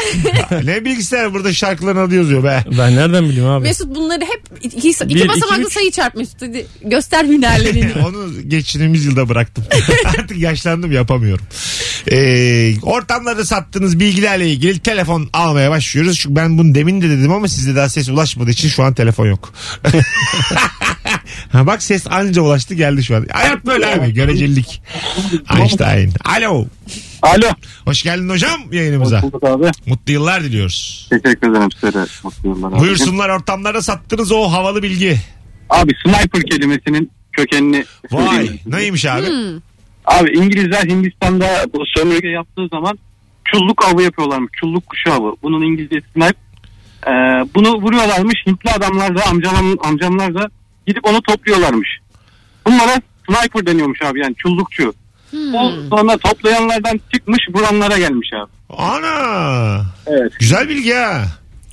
B: Ne bilgisayar burada şarkıların adı yazıyor be.
D: Ben nereden bileyim abi?
C: Mesut bunları hep iki, iki
D: Bir, iki,
C: basamaklı
D: üç.
C: sayı çarp Mesut. Hadi göster hünerlerini.
B: Onu geçtiğimiz yılda bıraktım. Artık yaşlandım yapamıyorum. Ee, ortamlarda sattığınız bilgilerle ilgili telefon almaya başlıyoruz. Çünkü ben bunu demin de dedim ama size daha ses ulaşmadığı için şu an telefon yok. ha bak ses anca ulaştı geldi şu an. Hayat böyle abi görecelilik. Einstein. Alo.
H: Alo.
B: Hoş geldin hocam yayınımıza.
H: Bulduk abi.
B: Mutlu yıllar diliyoruz.
H: Teşekkür ederim size de. Mutlu yıllar abicim.
B: Buyursunlar ortamlarda sattığınız o havalı bilgi.
H: Abi sniper kelimesinin kökenini
B: Vay
H: söyleyeyim.
B: neymiş abi?
H: Abi İngilizler Hindistan'da bu sömürge yaptığı zaman çulluk avı yapıyorlarmış. Çulluk kuşu avı. Bunun İngilizcesi sniper. Ee, bunu vuruyorlarmış. Hintli adamlar da amcam, amcamlar da gidip onu topluyorlarmış. Bunlara sniper deniyormuş abi yani çullukçu. Bu sonra toplayanlardan çıkmış vuranlara gelmiş abi.
B: Ana.
H: Evet.
B: Güzel bilgi ha.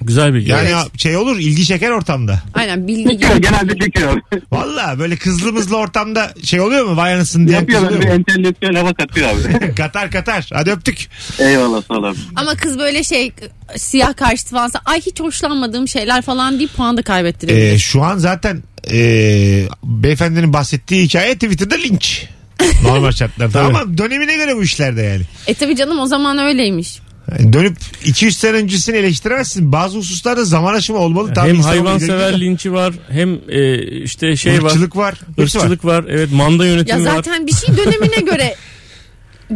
D: Güzel bilgi.
B: Yani şey olur ilgi çeker ortamda.
C: Aynen bilgi
H: Çıkıyor,
C: gibi.
H: genelde çıkıyor.
B: Valla böyle kızlı mızlı ortamda şey oluyor mu? Vay anasını diye
H: Yapıyorlar bir entelektüel hava katıyor abi.
B: Katar katar. Hadi öptük.
H: Eyvallah sağ ol abi.
C: Ama kız böyle şey siyah karşıtı falansa ay hiç hoşlanmadığım şeyler falan deyip puan da kaybettirebilir.
B: Ee, şu an zaten ee, beyefendinin bahsettiği hikaye Twitter'da linç. Normal şartlarda. Ama dönemine göre bu işlerde yani.
C: E tabi canım o zaman öyleymiş.
B: Yani dönüp 200 sene öncesini eleştiremezsin. Bazı hususlarda zaman aşımı olmalı. Tabii
D: hem
B: insan
D: hayvansever
B: ilerliyor.
D: linçi var hem e, işte şey var.
B: Irkçılık var. Hepsi var.
D: Irkçılık var. Evet manda
C: Ya
D: yönetimi var.
C: zaten bir şey dönemine göre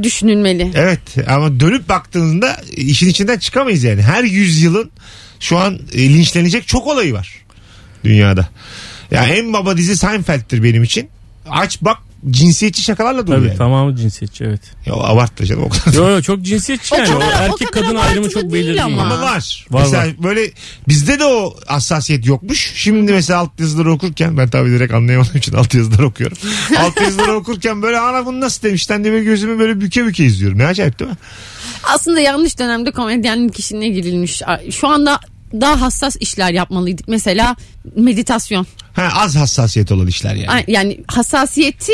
C: düşünülmeli.
B: Evet ama dönüp baktığında işin içinden çıkamayız yani. Her yüzyılın şu an e, linçlenecek çok olayı var dünyada. Ya en baba dizi Seinfeld'tir benim için. Aç bak cinsiyetçi şakalarla dolu
D: Tabii
B: yani.
D: tamamı cinsiyetçi evet.
B: Ya abartma canım o kadar.
D: Yo yo çok cinsiyetçi
C: O
D: yani. O
C: kadar- o
D: erkek
C: kadar
D: kadın ayrımı
C: abartılı
D: çok
C: değil
D: belirgin.
C: ama.
D: yani.
B: Ama var.
D: Var,
B: mesela
D: var.
B: böyle bizde de o hassasiyet yokmuş. Şimdi mesela alt yazıları okurken ben tabii direkt anlayamadığım için alt yazıları okuyorum. alt yazıları okurken böyle ana bunu nasıl demişten diye böyle gözümü böyle büke büke izliyorum. Ne acayip değil mi?
C: Aslında yanlış dönemde komedyenin kişiliğine girilmiş. Şu anda daha hassas işler yapmalıydık. Mesela meditasyon.
B: Ha, az hassasiyet olan işler yani.
C: Ay- Yani hassasiyeti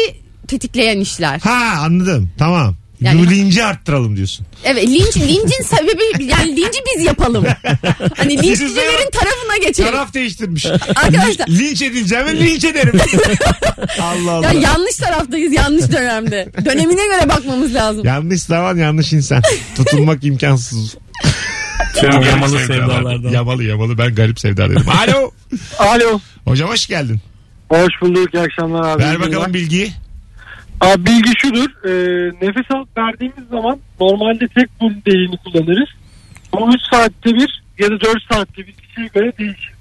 C: tetikleyen işler.
B: Ha anladım tamam.
C: Yani-
B: Bu linci arttıralım diyorsun.
C: Evet linç lincin sebebi yani linci biz yapalım. Hani linçlilerin tarafına geçelim.
B: Taraf değiştirmiş.
C: Arkadaşlar
B: linç edileceğime linç ederim. Allah Allah.
C: ya yanlış taraftayız yanlış dönemde. Dönemine göre bakmamız lazım.
B: yanlış zaman yanlış insan. Tutulmak imkansız.
D: Tüm yamalı sevdalardan.
B: Yamalı yamalı ben garip sevda dedim. Alo.
H: Alo.
B: Hocam hoş geldin.
H: Hoş bulduk. İyi akşamlar abi.
B: Ver bakalım bilgiyi.
H: Abi bilgi şudur. e, nefes alıp verdiğimiz zaman normalde tek burun deliğini kullanırız. Bu 3 saatte bir ya da 4 saatte bir kişiye göre değişir.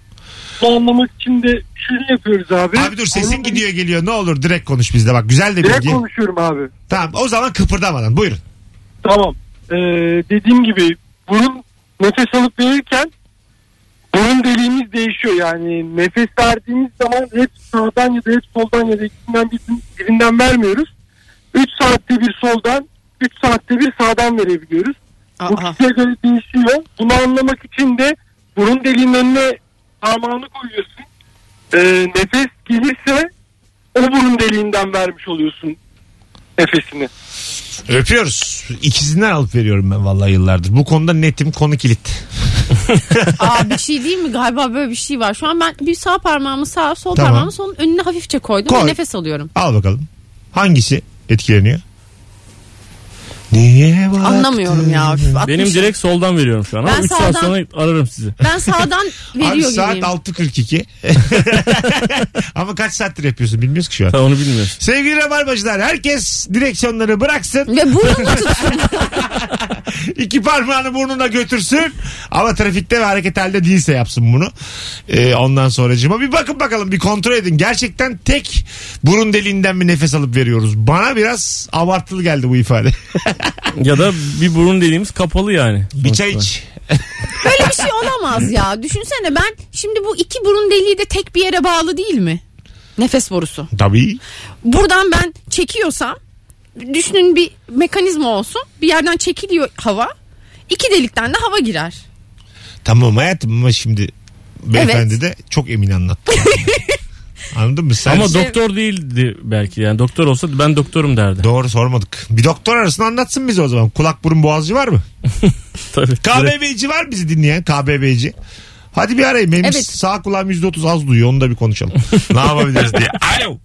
H: Bunu anlamak için de şunu yapıyoruz abi.
B: Abi dur sesin
H: Anlamak-
B: gidiyor geliyor ne olur direkt konuş bizde bak güzel de
H: Direkt
B: bilgi.
H: konuşuyorum abi.
B: Tamam o zaman kıpırdamadan buyurun.
H: Tamam. E, dediğim gibi burun nefes alıp verirken burun deliğimiz değişiyor. Yani nefes verdiğimiz zaman hep sağdan ya da hep soldan ya da ikisinden birin- birinden vermiyoruz. 3 saatte bir soldan 3 saatte bir sağdan verebiliyoruz. Bu
C: Aa,
H: kişiye göre değişiyor. Bunu anlamak için de burun deliğinin önüne parmağını koyuyorsun. Ee, nefes gelirse o burun deliğinden vermiş oluyorsun nefesini.
B: Öpüyoruz. İkisinden alıp veriyorum ben vallahi yıllardır. Bu konuda netim konu kilit.
C: Aa bir şey değil mi? Galiba böyle bir şey var. Şu an ben bir sağ parmağımı sağa, sol
B: Tamam.
C: parmağımı solun önüne hafifçe koydum
B: Koy.
C: ve nefes alıyorum.
B: Al bakalım. Hangisi etkileniyor? Niye baktın?
C: Anlamıyorum ya. Üf,
D: Benim
C: atmışım.
D: direkt soldan veriyorum şu an.
C: Ben
D: Ama 3 saat
C: sağdan-
D: sonra ararım sizi.
C: Ben sağdan
B: Abi
C: veriyor
B: saat
C: gibiyim.
B: 6.42. Ama kaç saattir yapıyorsun bilmiyoruz ki şu an.
D: Sen onu bilmiyorsun.
B: Sevgili Rabarbacılar herkes direksiyonları bıraksın.
C: Ve burnumla tutsun.
B: iki parmağını burnuna götürsün. Ama trafikte ve hareket halde değilse yapsın bunu. Ee, ondan sonracığıma bir bakın bakalım bir kontrol edin. Gerçekten tek burun deliğinden mi nefes alıp veriyoruz? Bana biraz abartılı geldi bu ifade.
D: Ya da bir burun dediğimiz kapalı yani.
B: bir çay iç.
C: Böyle bir şey olamaz ya. Düşünsene ben şimdi bu iki burun deliği de tek bir yere bağlı değil mi? Nefes borusu.
B: Tabii.
C: buradan ben çekiyorsam düşünün bir mekanizma olsun. Bir yerden çekiliyor hava. İki delikten de hava girer.
B: Tamam hayatım ama şimdi beyefendi
C: Evet.
B: de çok emin anlattı. Anladın mı? Sen
D: Ama doktor değildi belki yani. Doktor olsa ben doktorum derdi.
B: Doğru sormadık. Bir doktor arasında anlatsın bize o zaman. Kulak burun boğazcı var mı?
D: Tabii.
B: KBB'ci var bizi dinleyen KBB'ci. Hadi bir arayın. Benim
C: Evet.
B: sağ kulağım %30 az duyuyor. Onu da bir konuşalım. ne yapabiliriz diye. Alo.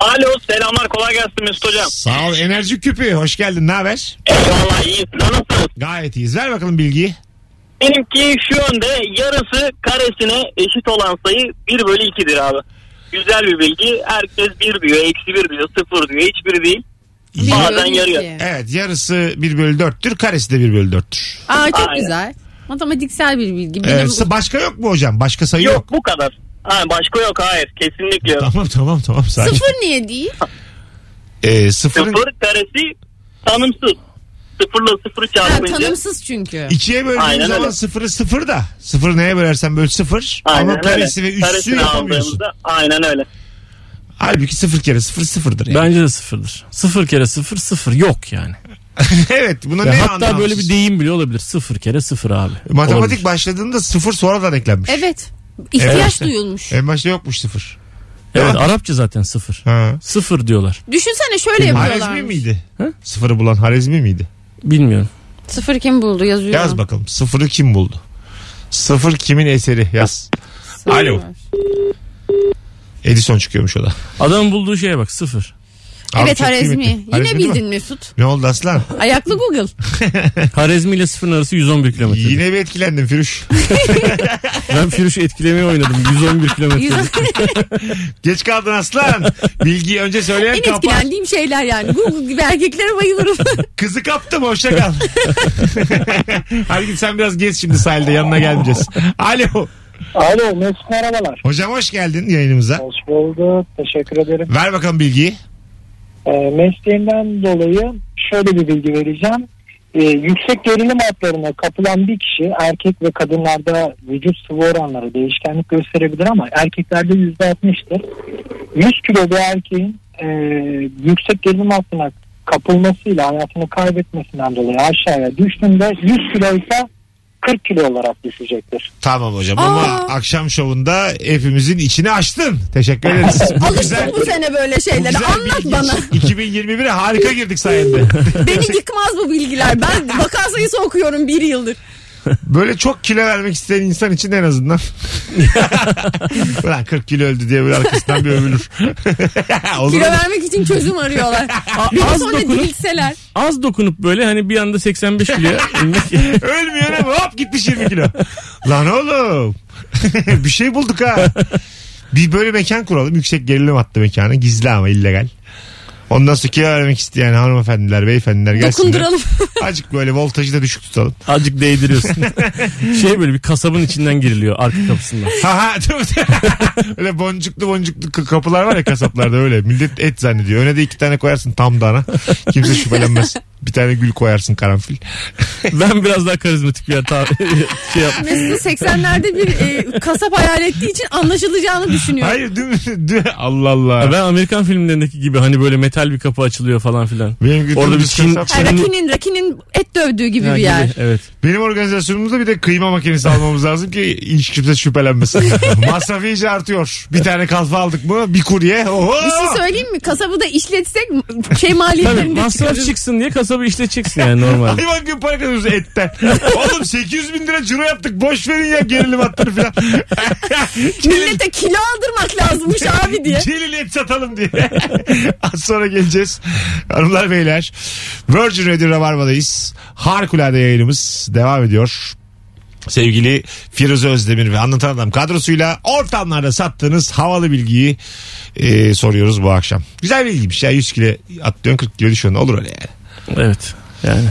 F: Alo selamlar kolay gelsin Mesut Hocam.
B: Sağ ol. Enerji küpü. Hoş geldin. Ne haber?
F: Eyvallah iyi. Nasılsınız?
B: Gayet iyiyiz. Ver bakalım bilgiyi.
F: Benimki şu yönde yarısı karesine eşit olan sayı 1 bölü 2'dir abi. Güzel bir bilgi. Herkes 1 diyor, eksi 1 diyor, 0 diyor. Hiçbiri değil. Bazen
C: Bilmiyorum
F: yarıyor.
C: ki.
B: Evet yarısı 1 bölü 4'tür. Karesi de 1 bölü 4'tür.
C: Aa çok
F: Aynen.
C: güzel. Matematiksel bir bilgi. Benim
B: Ee, s- başka yok mu hocam? Başka sayı yok.
F: Yok bu kadar. Ha, başka yok hayır. Kesinlikle yok.
B: Tamam tamam tamam. Sakin.
C: sıfır niye değil?
B: Ee, sıfırın
F: Sıfır karesi tanımsız. Sıfırla sıfırı
C: Ha,
F: çarpınca.
C: tanımsız çünkü.
B: İkiye böldüğün
F: Aynen
B: zaman
F: öyle.
B: sıfırı sıfır da. Sıfırı neye bölersen böl sıfır. ama
F: öyle.
B: karesi ve üssü
F: Karesini
B: yapamıyorsun.
F: aldığımızda Aynen öyle.
B: Halbuki sıfır kere sıfır sıfırdır yani.
D: Bence de sıfırdır. Sıfır kere sıfır sıfır yok yani.
B: evet buna
D: Ya
B: ne
D: hatta
B: anlamsız? şey.
D: böyle bir deyim bile olabilir. Sıfır kere sıfır abi.
B: Matematik
D: Olabilir.
B: başladığında sıfır sonradan eklenmiş.
C: Evet. İhtiyaç
B: Evet işte.
C: duyulmuş.
B: En başta yokmuş sıfır.
D: Evet
B: Ya.
D: Arapça zaten sıfır.
B: Ha.
D: Sıfır diyorlar.
C: Düşünsene şöyle
B: Harezmi
C: yapıyorlar.
B: miydi?
D: Hı?
B: Sıfırı bulan Harezmi miydi?
D: Bilmiyorum.
C: Sıfır kim buldu yazıyor.
B: Yaz bakalım. Sıfırı kim buldu? Sıfır kimin eseri? Yaz.
C: Sıfır
B: Alo.
C: var.
B: Edison çıkıyormuş o da.
D: Adamın bulduğu şeye bak sıfır.
B: Abi
C: Evet
B: çok
C: Harezmi.
B: kıymetli.
C: Yine
B: Harezmi değil mi?
C: bildin Mesut.
B: Ne oldu aslan?
C: Ayaklı Google.
D: Harezmi ile sıfırın arası 111 kilometre.
B: Yine bir etkilendim Firuş.
D: Ben Firuş'u etkilemeye oynadım. 111 kilometre.
B: Geç kaldın aslan. Bilgiyi önce söyleyen
C: en
B: kapar.
C: etkilendiğim şeyler yani. Google gibi erkeklere bayılırım.
B: Kızı kaptım hoşça kal. Halbuki sen biraz gez şimdi sahilde yanına gelmeyeceğiz. Alo.
E: Alo Mesut merhabalar.
B: Hocam hoş geldin yayınımıza.
E: Hoş bulduk. Teşekkür ederim.
B: Ver bakalım bilgiyi.
I: Ee,
E: E,
B: Ee,
E: mesleğimden dolayı şöyle bir bilgi vereceğim. E, yüksek gerilim hatlarına kapılan bir kişi erkek ve kadınlarda vücut sıvı oranları değişkenlik gösterebilir ama erkeklerde yüzde altmıştır. 100 kilo bir erkeğin e, yüksek gerilim hattına kapılmasıyla hayatını kaybetmesinden dolayı aşağıya düştüğünde 100 kilo ise 40 kilo olarak düşecektir.
B: Tamam hocam ama
C: Aa.
B: akşam şovunda hepimizin içini açtın. Teşekkür ederiz. Bu güzel,
C: Alıştık bu sene böyle
B: bu
C: şeylere.
B: güzel
C: Anlat
B: bilgi.
C: bana.
B: 2021'e harika girdik sayende.
C: Beni yıkmaz bu bilgiler. Ben vaka sayısı okuyorum bir yıldır.
B: Böyle çok kilo vermek isteyen insan için en azından. Ulan 40 kilo öldü diye böyle arkasından bir övülür. Olur
C: Kilo
B: mu?
C: vermek için çözüm arıyorlar. Bir yıl
D: az
C: sonra
D: dokunup-
C: dirilseler.
D: Az dokunup böyle hani bir anda 85 kiloya inmek.
B: Ölmüyor ama hop gitmiş 20 kilo. Lan oğlum. bir şey bulduk ha. Bir böyle mekan kuralım. Yüksek gerilim hattı mekanı. Gizli ama illegal. Ondan sonra kilo vermek isteyen hanımefendiler, beyefendiler gelsinler.
C: Dokunduralım.
B: Azıcık böyle voltajı da düşük tutalım.
D: Azıcık değdiriyorsun. şey böyle bir kasabın içinden giriliyor arka kapısından.
B: Ha ha tabii, tabii. Öyle boncuklu boncuklu k- kapılar var ya kasaplarda öyle. Millet et zannediyor. Öne de iki tane koyarsın tam dana. Kimse şüphelenmez. Bir tane gül koyarsın karanfil.
D: Ben biraz daha karizmatik bir hata şey yap.
C: Mesut'un 80'lerde bir e, kasap hayal ettiği için anlaşılacağını düşünüyor.
B: Hayır dün, dün Allah Allah.
D: Ben Amerikan filmlerindeki gibi hani böyle metal bir kapı açılıyor falan filan.
B: Benim götüm
D: Orada bir
B: düz
D: Çin,
B: kasap.
C: Ha,
D: Çin'in-
C: rakinin, rakinin et dövdüğü gibi
D: Ha,
C: bir
D: gibi,
C: yer.
D: Evet.
B: Benim organizasyonumuzda bir de kıyma makinesi almamız lazım ki hiç kimse şüphelenmesin. Masrafı iyice artıyor. Bir tane kalfa aldık mı bir kurye. Oho!
C: Bir şey söyleyeyim mi? Kasabı da işletsek şey
D: Tabii
C: maliyetlerini de
D: masraf
C: çıkarırız.
D: çıksın diye tabii işleteceksin yani normalde.
B: Hayvan gibi para kazanıyoruz etten. Oğlum 800 bin lira ciro yaptık. Boş verin ya gerilim hattını falan. Gelin-
C: Millete kilo aldırmak lazımmış abi diye.
B: Gelin et satalım diye. Az sonra geleceğiz. Hanımlar beyler. Virgin Radio Rabarba'dayız. Harikulade yayınımız devam ediyor. Sevgili Firuze Özdemir ve Anlatan Adam kadrosuyla ortamlarda sattığınız havalı bilgiyi e, soruyoruz bu akşam. Güzel bilgiymiş ya 100 kilo atlıyorsun 40 kilo düşüyorsun olur öyle yani.
D: evet. Yani.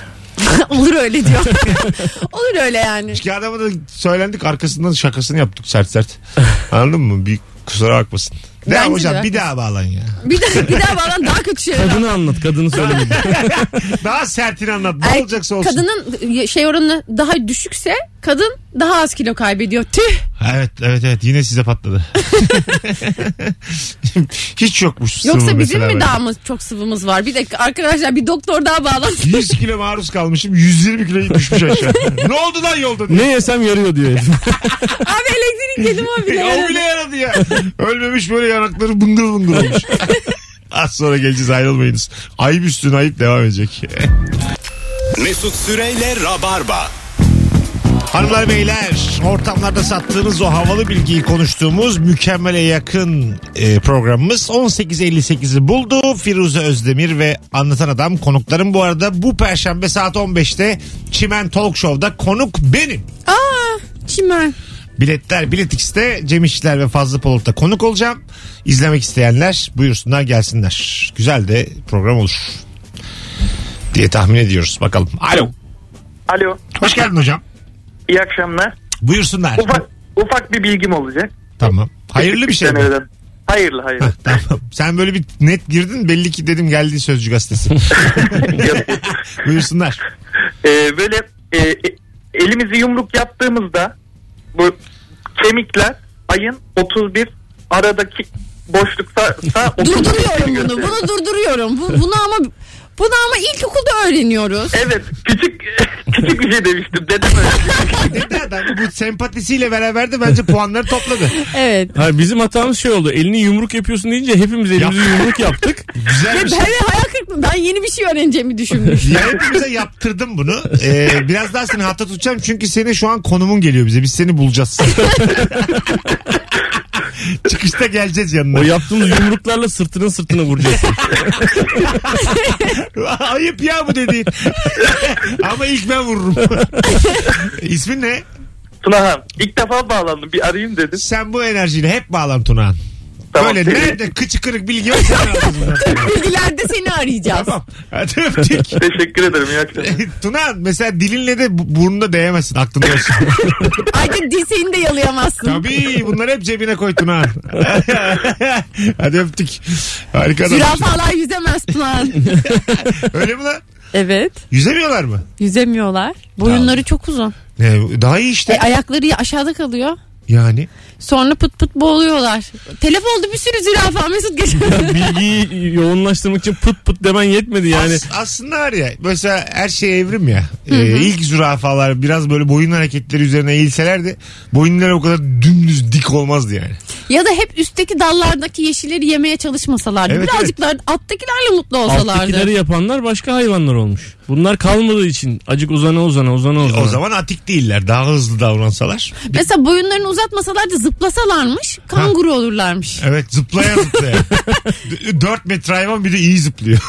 C: Olur öyle diyor. Olur öyle yani.
B: Ki adama da söylendik arkasından şakasını yaptık sert sert. Anladın mı? Bir kusura bakmasın. Ne
C: Bence
B: yap
C: de
B: hocam
C: haklısın.
B: bir daha bağlan ya.
C: Bir daha, bir daha bana daha kötü şeyler.
D: Kadını anlat kadını söyle.
B: Daha sertini anlat. Ne
C: Er-
B: olacaksa olsun.
C: Kadının şey oranı daha düşükse kadın daha az kilo kaybediyor. Tüh.
B: Evet evet evet yine size patladı. Hiç yokmuş.
C: Yoksa
B: sıvı
C: bizim
B: mesela
C: mi
B: bende.
C: daha mı çok sıvımız var? Bir dakika arkadaşlar bir doktor daha bağlansın.
B: 100 kilo maruz kalmışım 120 kilo düşmüş aşağı. ne oldu lan yolda diye.
D: ne yesem yarıyor diyor herif.
C: abi elektrik yedim o bile.
B: o bile yaradı ya. Ölmemiş böyle yanakları bıngıl bıngıl olmuş. Az sonra geleceğiz ayrılmayınız. Ayıp üstüne ayıp devam edecek.
A: Mesut Süreyle Rabarba.
B: Hanımlar beyler ortamlarda sattığınız o havalı bilgiyi konuştuğumuz mükemmele yakın e, programımız 18.58'i buldu. Firuze Özdemir ve Anlatan Adam konuklarım bu arada bu perşembe saat 15'te Çimen Talk Show'da konuk benim.
C: Aa çimen.
B: Biletler Bilet X'te Cem İşçiler ve Fazlı Polat'ta konuk olacağım. İzlemek isteyenler buyursunlar gelsinler. Güzel de program olur diye tahmin ediyoruz bakalım. Alo.
I: Alo.
B: Hoş geldin hocam.
I: İyi akşamlar.
B: Buyursunlar.
I: Ufak ufak bir bilgim olacak.
B: Tamam. Hayırlı bir şey mi?
I: Denemeden. Hayırlı hayırlı.
B: Heh, tamam. Sen böyle bir net girdin belli ki dedim geldi Sözcü Gazetesi.
I: Yok, yok.
B: Buyursunlar.
I: Ee, böyle e, e, elimizi yumruk yaptığımızda bu kemikler ayın 31 aradaki boşlukta sa- 31
C: Durduruyorum bunu.
I: gösteriyor.
C: Bunu durduruyorum. Bu, bunu ama bunu ama ilkokulda öğreniyoruz.
I: Evet küçük küçük bir şey demiştim dedem öyle.
B: Dedi adam bu sempatisiyle beraber de bence puanları topladı.
C: Evet.
D: Hayır, bizim hatamız şey oldu. Elini yumruk yapıyorsun deyince hepimiz elimizi
B: Yap.
D: yumruk yaptık.
B: Güzel
C: Ve
B: bir
C: ben
B: şey.
C: ve hayal kırıklığı. Ben yeni bir şey öğreneceğimi düşünmüştüm.
B: Ya hepimize yaptırdım bunu. Ee, biraz daha seni hatta tutacağım çünkü senin şu an konumun geliyor bize. Biz seni bulacağız. Çıkışta geleceğiz
D: O
B: yanına.
D: yaptığımız yumruklarla sırtına sırtına vuracaksın.
B: Ayıp ya bu dediğin. Ama ilk ben vururum. İsmin ne?
I: Tunahan ilk defa bağlandım bir arayayım dedim.
B: Sen bu enerjiyle hep bağlan Tunahan.
I: Tamam,
B: Böyle
I: teşekkür-
B: nerede kıçı kırık bilgi var sen ağzından.
C: Bilgilerde seni arayacağız.
B: Tamam. Hadi öptük.
I: Teşekkür ederim iyi akşamlar.
B: Tuna mesela dilinle de bu- burnuna değemezsin aklında olsun.
C: Ayrıca dirseğini de yalayamazsın.
B: Tabii bunları hep cebine koy Tuna. Hadi öptük. Harika adam.
C: Zürafalar yüzemez plan.
B: Öyle mi lan?
C: evet.
B: Yüzemiyorlar mı?
C: Yüzemiyorlar. Boyunları çok uzun.
B: Ne, daha iyi
C: E,
B: işte.
C: ayakları aşağıda kalıyor.
B: Yani.
C: Sonra pıt pıt boğuluyorlar. Telef oldu bir sürü zürafa Mesut geçen.
D: Bilgiyi yoğunlaştırmak için pıt pıt demen yetmedi yani.
B: Yani aslında var ya mesela her şey evrim ya. Ee, ilk zürafalar biraz böyle boyun hareketleri üzerine eğilselerdi boyunları o kadar dümdüz dik olmazdı yani.
C: ya da hep üstteki dallardaki yeşilleri yemeye çalışmasalardı.
B: Evet,
C: Birazcık daha alttakilerle mutlu olsalardı.
D: Alttakileri yapanlar başka hayvanlar olmuş. Bunlar kalmadığı için acık uzana uzana uzana uzana.
B: E, O zaman atik değiller daha hızlı davransalar.
C: Mesela boyunlarını uzatmasalardı zıplasalarmış kanguru olurlarmış.
B: Evet zıplaya zıplaya. 4 metre hayvan bir de iyi zıplıyor.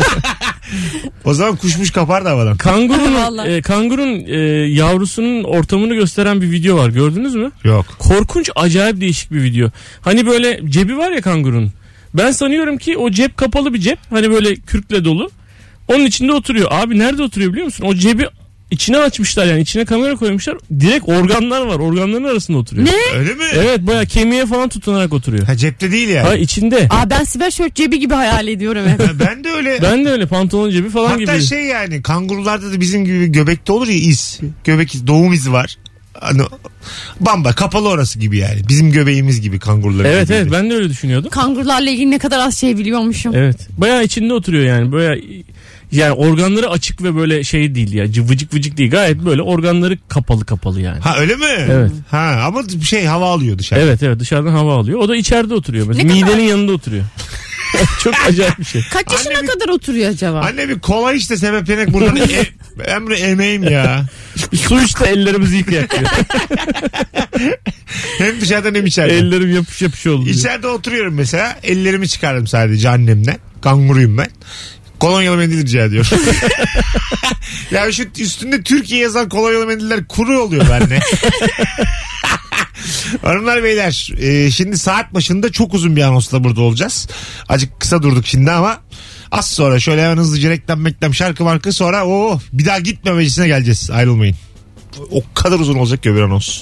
B: o zaman kuşmuş kapar da havadan.
D: Kangurunun,
C: Vallahi.
D: e, kangurun e, yavrusunun ortamını gösteren bir video var gördünüz mü?
B: Yok.
D: Korkunç acayip değişik bir video. Hani böyle cebi var ya kangurun. Ben sanıyorum ki o cep kapalı bir cep. Hani böyle kürkle dolu. Onun içinde oturuyor. Abi nerede oturuyor biliyor musun? O cebi içine açmışlar yani içine kamera koymuşlar. Direkt organlar var. Organların arasında oturuyor.
C: Ne?
B: Öyle mi?
D: Evet baya kemiğe falan tutunarak oturuyor.
B: Ha cepte değil yani.
D: Ha içinde.
C: Aa ben siber şört cebi gibi hayal ediyorum hep.
B: Ben de öyle.
D: Ben de öyle pantolon cebi falan
B: Hatta
D: gibi.
B: şey yani kangurularda da bizim gibi göbekte olur ya iz. Göbek iz, doğum izi var. Hani bamba kapalı orası gibi yani. Bizim göbeğimiz gibi kanguruların.
D: Evet
B: göbeği
D: evet
B: de.
D: ben de öyle düşünüyordum.
C: Kangurularla ilgili ne kadar az şey biliyormuşum.
D: Evet. Bayağı içinde oturuyor yani. Bayağı yani organları açık ve böyle şey değil ya. cı- Vıcık vıcık değil. Gayet böyle organları kapalı kapalı yani.
B: Ha öyle mi?
D: Evet.
B: Ha ama şey hava alıyor dışarı.
D: Evet evet dışarıdan hava alıyor. O da içeride oturuyor. Mesela
C: Ne
D: midenin
C: kadar-
D: yanında oturuyor. Çok acayip bir şey.
C: Kaç yaşına
B: Annemin-
C: kadar oturuyor acaba?
B: Anne bir kola işte sebeplenek buradan e- Emre emeğim ya.
D: Su işte ellerimizi yıkayak diyor.
B: Hem dışarıdan hem içeriden.
D: Ellerim yapış yapış oldu. diyor.
B: İçeride oturuyorum mesela. Ellerimi çıkardım sadece annemden. Kanguruyum ben. Kolonyalı mendil rica ediyorum. ya şu üstünde Türkiye yazan kolonyalı mendiller kuru oluyor bende. Hanımlar beyler e, şimdi saat başında çok uzun bir anonsla burada olacağız. Acık kısa durduk şimdi ama az sonra şöyle hemen hızlıca reklam meklam şarkı oh, markı sonra o bir daha gitme meclisine geleceğiz ayrılmayın. O kadar uzun olacak ki öbür anons.